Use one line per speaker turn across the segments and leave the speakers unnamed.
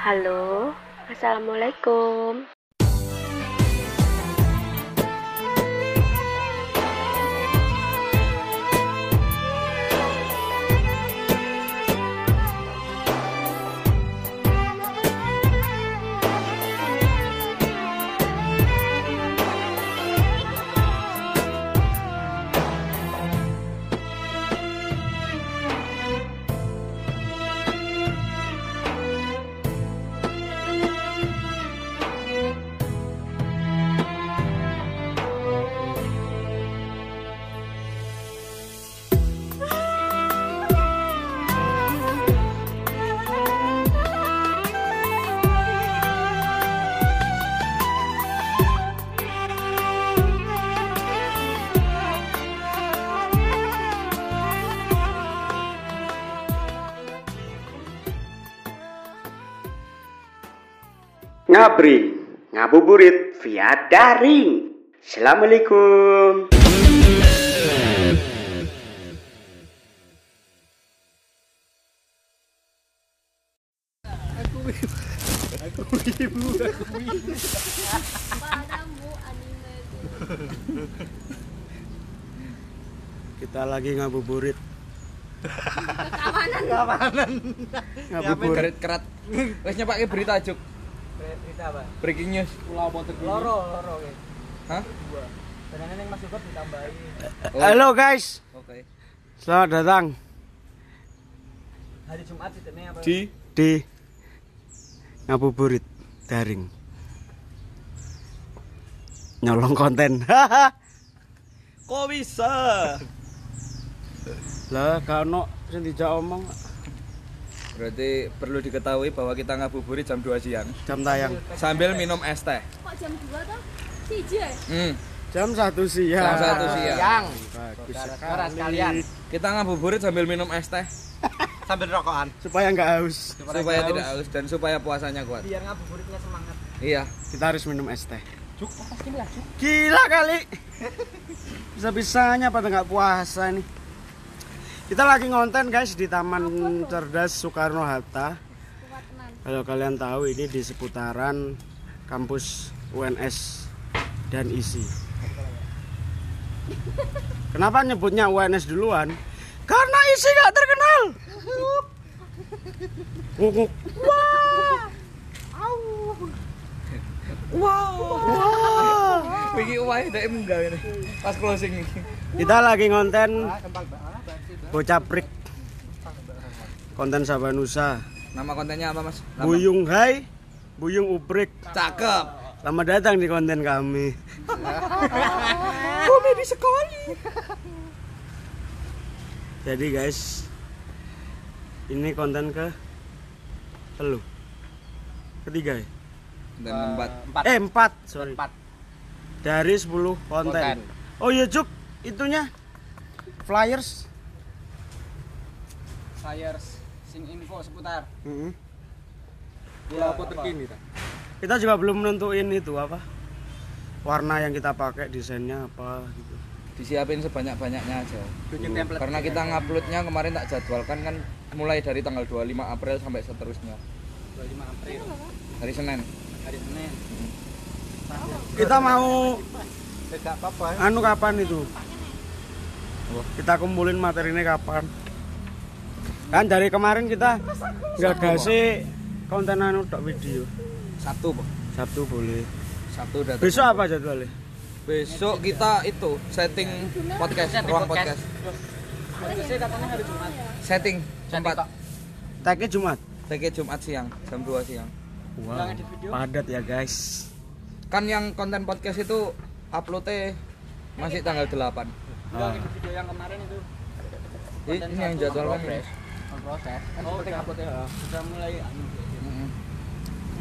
Halo, Assalamualaikum.
Ngabri, ngabuburit via daring. Assalamualaikum.
Kita lagi ngabuburit. Keamanan.
Ngapain
Ngabuburit.
kerat kerat. Wes nyepake berita juk.
Berita apa?
Breaking news.
Loro, loro ya.
Hah?
Tenangnya yang masuk kot ditambahin.
Halo guys,
Oke.
selamat datang
Hari Jumat sih tenang apa?
Di
di ngabuburit daring. Nyolong konten. Haha.
kok bisa?
lah kano sing dijak omong
Berarti perlu diketahui bahwa kita ngabuburit jam 2 siang
jam tayang.
sambil minum es teh.
kok jam 2 toh? Siji ya?
Hmm.
Jam 1 siang.
Jam 1 siang.
Bagus
Ora Ya, sekalian.
Kita ngabuburit sambil minum es teh
Sambil rokokan.
supaya nggak haus.
supaya tidak haus dan supaya puasanya kuat.
Biar ngabuburitnya semangat.
Iya.
Kita harus minum es teh. Gila kali. Bisa-bisanya pada nggak puasa nih. Kita lagi ngonten guys di Taman Cerdas Soekarno Hatta.
Kuat tenan.
Kalau kalian tahu ini di seputaran kampus UNS dan ISI. Kenapa nyebutnya UNS duluan? Karena ISI nggak terkenal. Nguk-nguk. Ah.
Iki wae dek munggah ini. Pas closing iki.
Kita lagi ngonten ah, Bocah Prik. Konten Sabanusa.
Nama kontennya apa, Mas? Nama-
Buyung Hai, Buyung Uprik.
Cakep.
Selamat datang di konten kami.
Komedi sekali.
Jadi guys, ini konten ke telu. Ketiga ya?
Dan tempat
Eh, empat, sorry. Dari 10 konten. Oh iya, Cuk, itunya flyers.
Flyers sing info seputar.
Mm-mm.
Ya, apa terkini.
Kita juga belum nentuin itu apa. Warna yang kita pakai, desainnya apa gitu.
disiapin sebanyak-banyaknya aja.
Bikin template.
Karena kita nguploadnya kemarin tak jadwalkan kan mulai dari tanggal 25 April sampai seterusnya
25 April
hari Senin.
hari Senin.
Kita mau
Tidak apa-apa.
anu kapan itu? Kita kumpulin materinya kapan? Kan dari kemarin kita nggak kasih konten anu tok video.
Sabtu, Pak.
Sabtu boleh.
Sabtu udah
Besok apa jadwalnya?
Besok kita itu setting podcast, ruang podcast.
Podcastnya katanya hari Jumat.
Setting tempat
Tagnya Jumat.
take Jumat siang jam 2 siang.
Wow. Padat ya guys.
Kan yang konten podcast itu uploadnya masih tanggal 8.
Enggak di video yang kemarin itu.
Ini yang jadwal kan.
Proses. Kan oh, penting uploadnya. ya. Sudah mulai anu.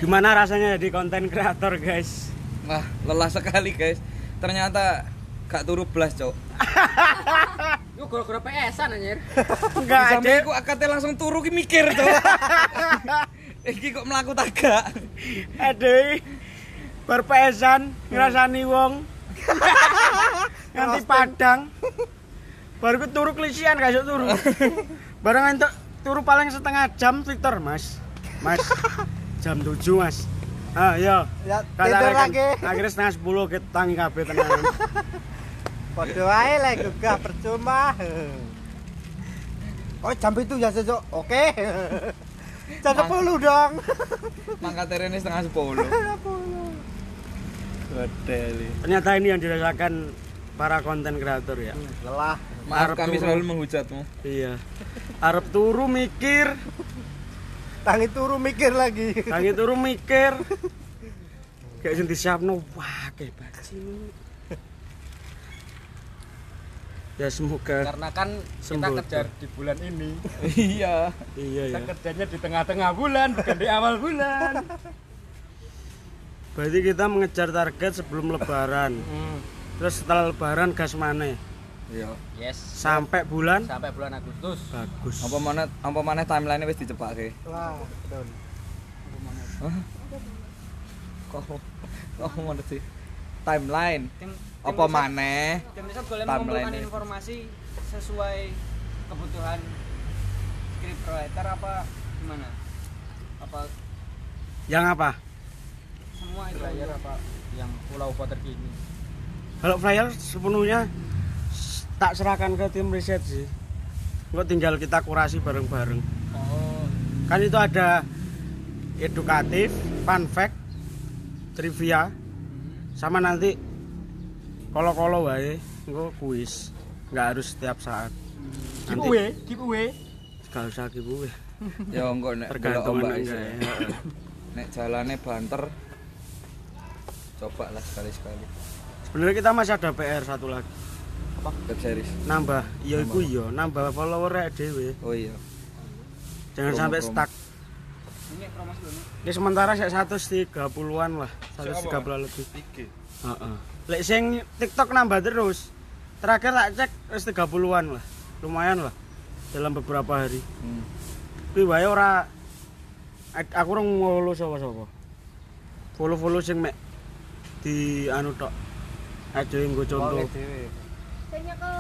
Gimana rasanya jadi konten kreator guys?
Wah, lelah sekali, guys. Ternyata gak turu blas, Cok.
Yo gara-gara PS-an anjir.
Enggak ada.
Sampai aku akate langsung turu ki mikir, Cok. Iki kok mlaku tagak.
Ada berpesan ngerasani wong. Nanti padang. Baru ku turu kelisian gak iso turu. Bareng entuk turu paling setengah jam Twitter mas mas jam 7 mas ah iya
Ya,
Kata
tidur
rekan,
lagi.
akhirnya setengah 10 kita tangi kabeh tenan
Padha wae lek gegah percuma. Oh jam itu ya sesuk. Oke. Jam 10 dong.
Mangkat terene setengah sepuluh.
ternyata ini yang dirasakan para konten kreator ya
Lelah.
Maaf
Arep
kami
turun.
selalu menghujatmu.
iya Arab turu mikir
Tangi turu mikir lagi.
tangi turu mikir kayak sing disiapno wah kayak bajing ya semoga
Karena kan kita
Sembuh.
kejar di bulan ini.
Iya.
iya
Kita
ya
kerjanya di tengah-tengah bulan, bukan di awal bulan.
berarti kita mengejar target sebelum lebaran
Hmm,
terus setelah lebaran gas maneh
Iya.
Yes.
sampai bulan
Sampai bulan Agustus.
bagus
Apa mana apa mana timeline wis dicepake.
Lah, don.
Kok kok ngono sih? Timeline.
Tim,
Apa maneh?
Tim riset boleh
Timeline-nya.
mengumpulkan informasi sesuai kebutuhan script writer apa gimana? Apa
yang apa
semua itu aja apa yang pulau Potter ini?
kalau flyer sepenuhnya s- tak serahkan ke tim riset sih kok tinggal kita kurasi bareng-bareng
Oh,
kan itu ada edukatif, fun fact, trivia, sama nanti kolo-kolo wae, engko kuis, nggak harus setiap saat. Nanti
giveaway, giveaway.
gak usah giveaway,
Ya engko nek delok
tergantung
ombak
anak
iso.
enggak ya.
Nek jalane banter. Cobalah sekali-sekali.
Sebenarnya kita masih ada PR satu lagi,
Web series.
nambah, iya iku iya, nambah follower rek dhewe.
Oh iya.
Jangan
Promo,
sampai
promo.
stuck.
Ini promosi dulu.
Ini sementara saya 130-an lah, 130 lebih. Heeh. Lek sing TikTok nambah terus. Terakhir tak cek wis 30-an lah. Lumayan lah dalam beberapa hari.
Hmm.
Kuwi wae ora ak- aku rong follow sapa-sapa. Follow-follow sing mek di anu tok. Aja nggo contoh.
Wonge dhewe.
Kayaknya ke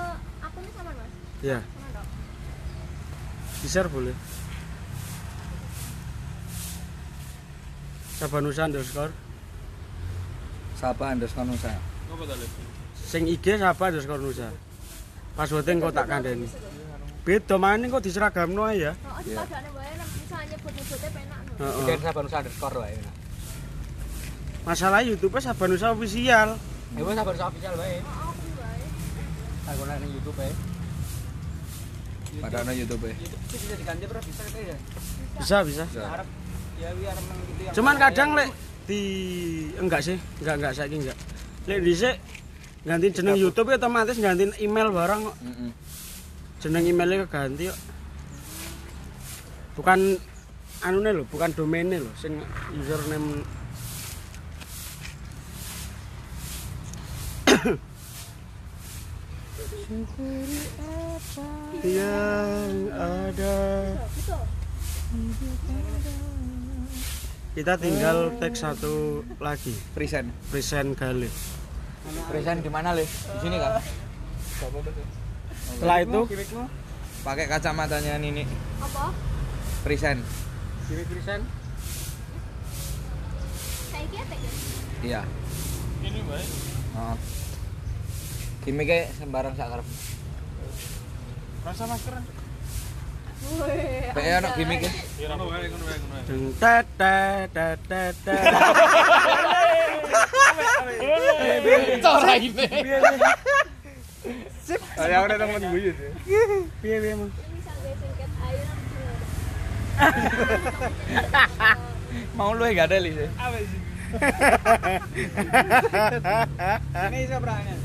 akunnya sama mas,
Ya,
sama dok.
di-share boleh. Sabanusa underscore
Sapa underscore nusa.
sing IG sapa terus karo nusa passwordnya engko tak kandani beda maning kok diseragamno ae ya
Oh, di padahalnya wae nek bisa nyebut-nyebutnya penak no.
Heeh.
sabar nusa Nah, underscore wae.
masalah YouTube saban nusa official
Ya wis Eh, sabar nusa official wae.
Oh, aku wae.
Tak guna ning YouTube eh. wae.
Padahal YouTube.
YouTube itu bisa diganti bro, bisa kita ya.
bisa bisa
Harap ya wi arep nang gitu yang
cuman
kayak-
kadang lek di enggak sih enggak enggak saiki enggak lek dhisik ganti jeneng YouTube ya otomatis ganti email barang kok
Heeh.
jeneng emailnya keganti kok bukan anune lho bukan domainnya lho sing username yang ada kita tinggal tag satu lagi
Present.
present kali
Present di mana, Le? Di sini kan?
setelah itu
Pakai kacamatanya Nini.
Apa?
Present.
Dewi Krisen.
Saiki atek ya?
Iya. Ini baik. Oh. Gimiknya sembarang sak karep.
Weh,
Pek ana gimiknya.
Deng, tet, tet, tet, tet, tet. Iya,
Ayo udah temen gue itu.
Piye, piye, Mang?
ini bisa gue singkat ayo nang dulu.
Mau lu enggak ada, Le.
Ini iso berangnya.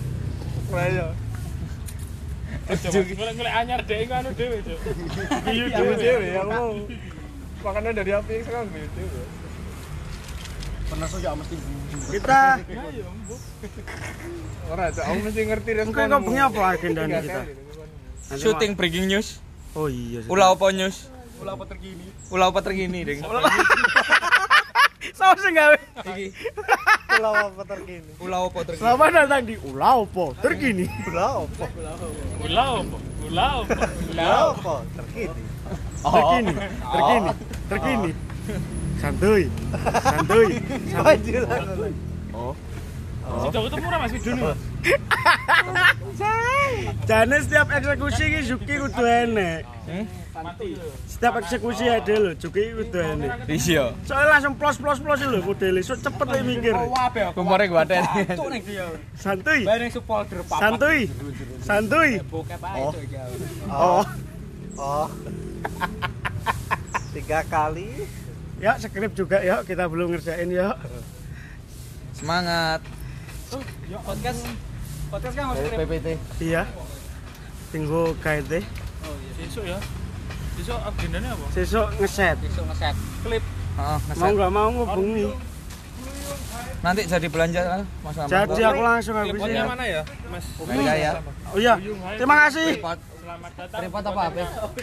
kita
Ora, aku mesti ngerti
Engko kok bengi apa agenda kita? Nanti
Shooting breaking news.
ma- Oh iya. sih.
Ulah apa news? Ulah apa terkini? Ulah apa terkini, Ding.
Saos sing gawe.
Iki.
Pulau apa terkini?
Ulah apa terkini?
Selamat datang di Ulah Opo terkini.
Pulau apa?
Pulau, pulau.
Pulau apa terkini?
terkini terkini terkini santuy santuy santuy
Jauh itu murah mas video nih.
jane setiap eksekusi ki Juki kudu enek setiap eksekusi ada lho Juki kudu enek
Iya.
soalnya langsung plos plos plos lho modele so cepet lho mikir
Kumpare gua teh.
Cuk ning dia.
santuy
Bae ning supporter papat.
santuy santuy
Bokep ae cuk iki.
oh
Oh. Tiga kali.
ya skrip juga yuk kita belum ngerjain yuk
Semangat.
Podcast podcast kan harus skrip.
PPT.
iya tinggu kaite
Oh iya.
Besok ya. Besok agendanya apa?
sesuk ngeset
Besok ngeset klip.
Heeh,
mau nggak mau ngubungi
Nanti jadi belanja kan Mas Amar.
jadi aku langsung habis
Teleponnya
ya
mana ya, Mas?
Kaya ya.
oh iya terima kasih
Tripod.
Selamat datang.
Tripod apa apa?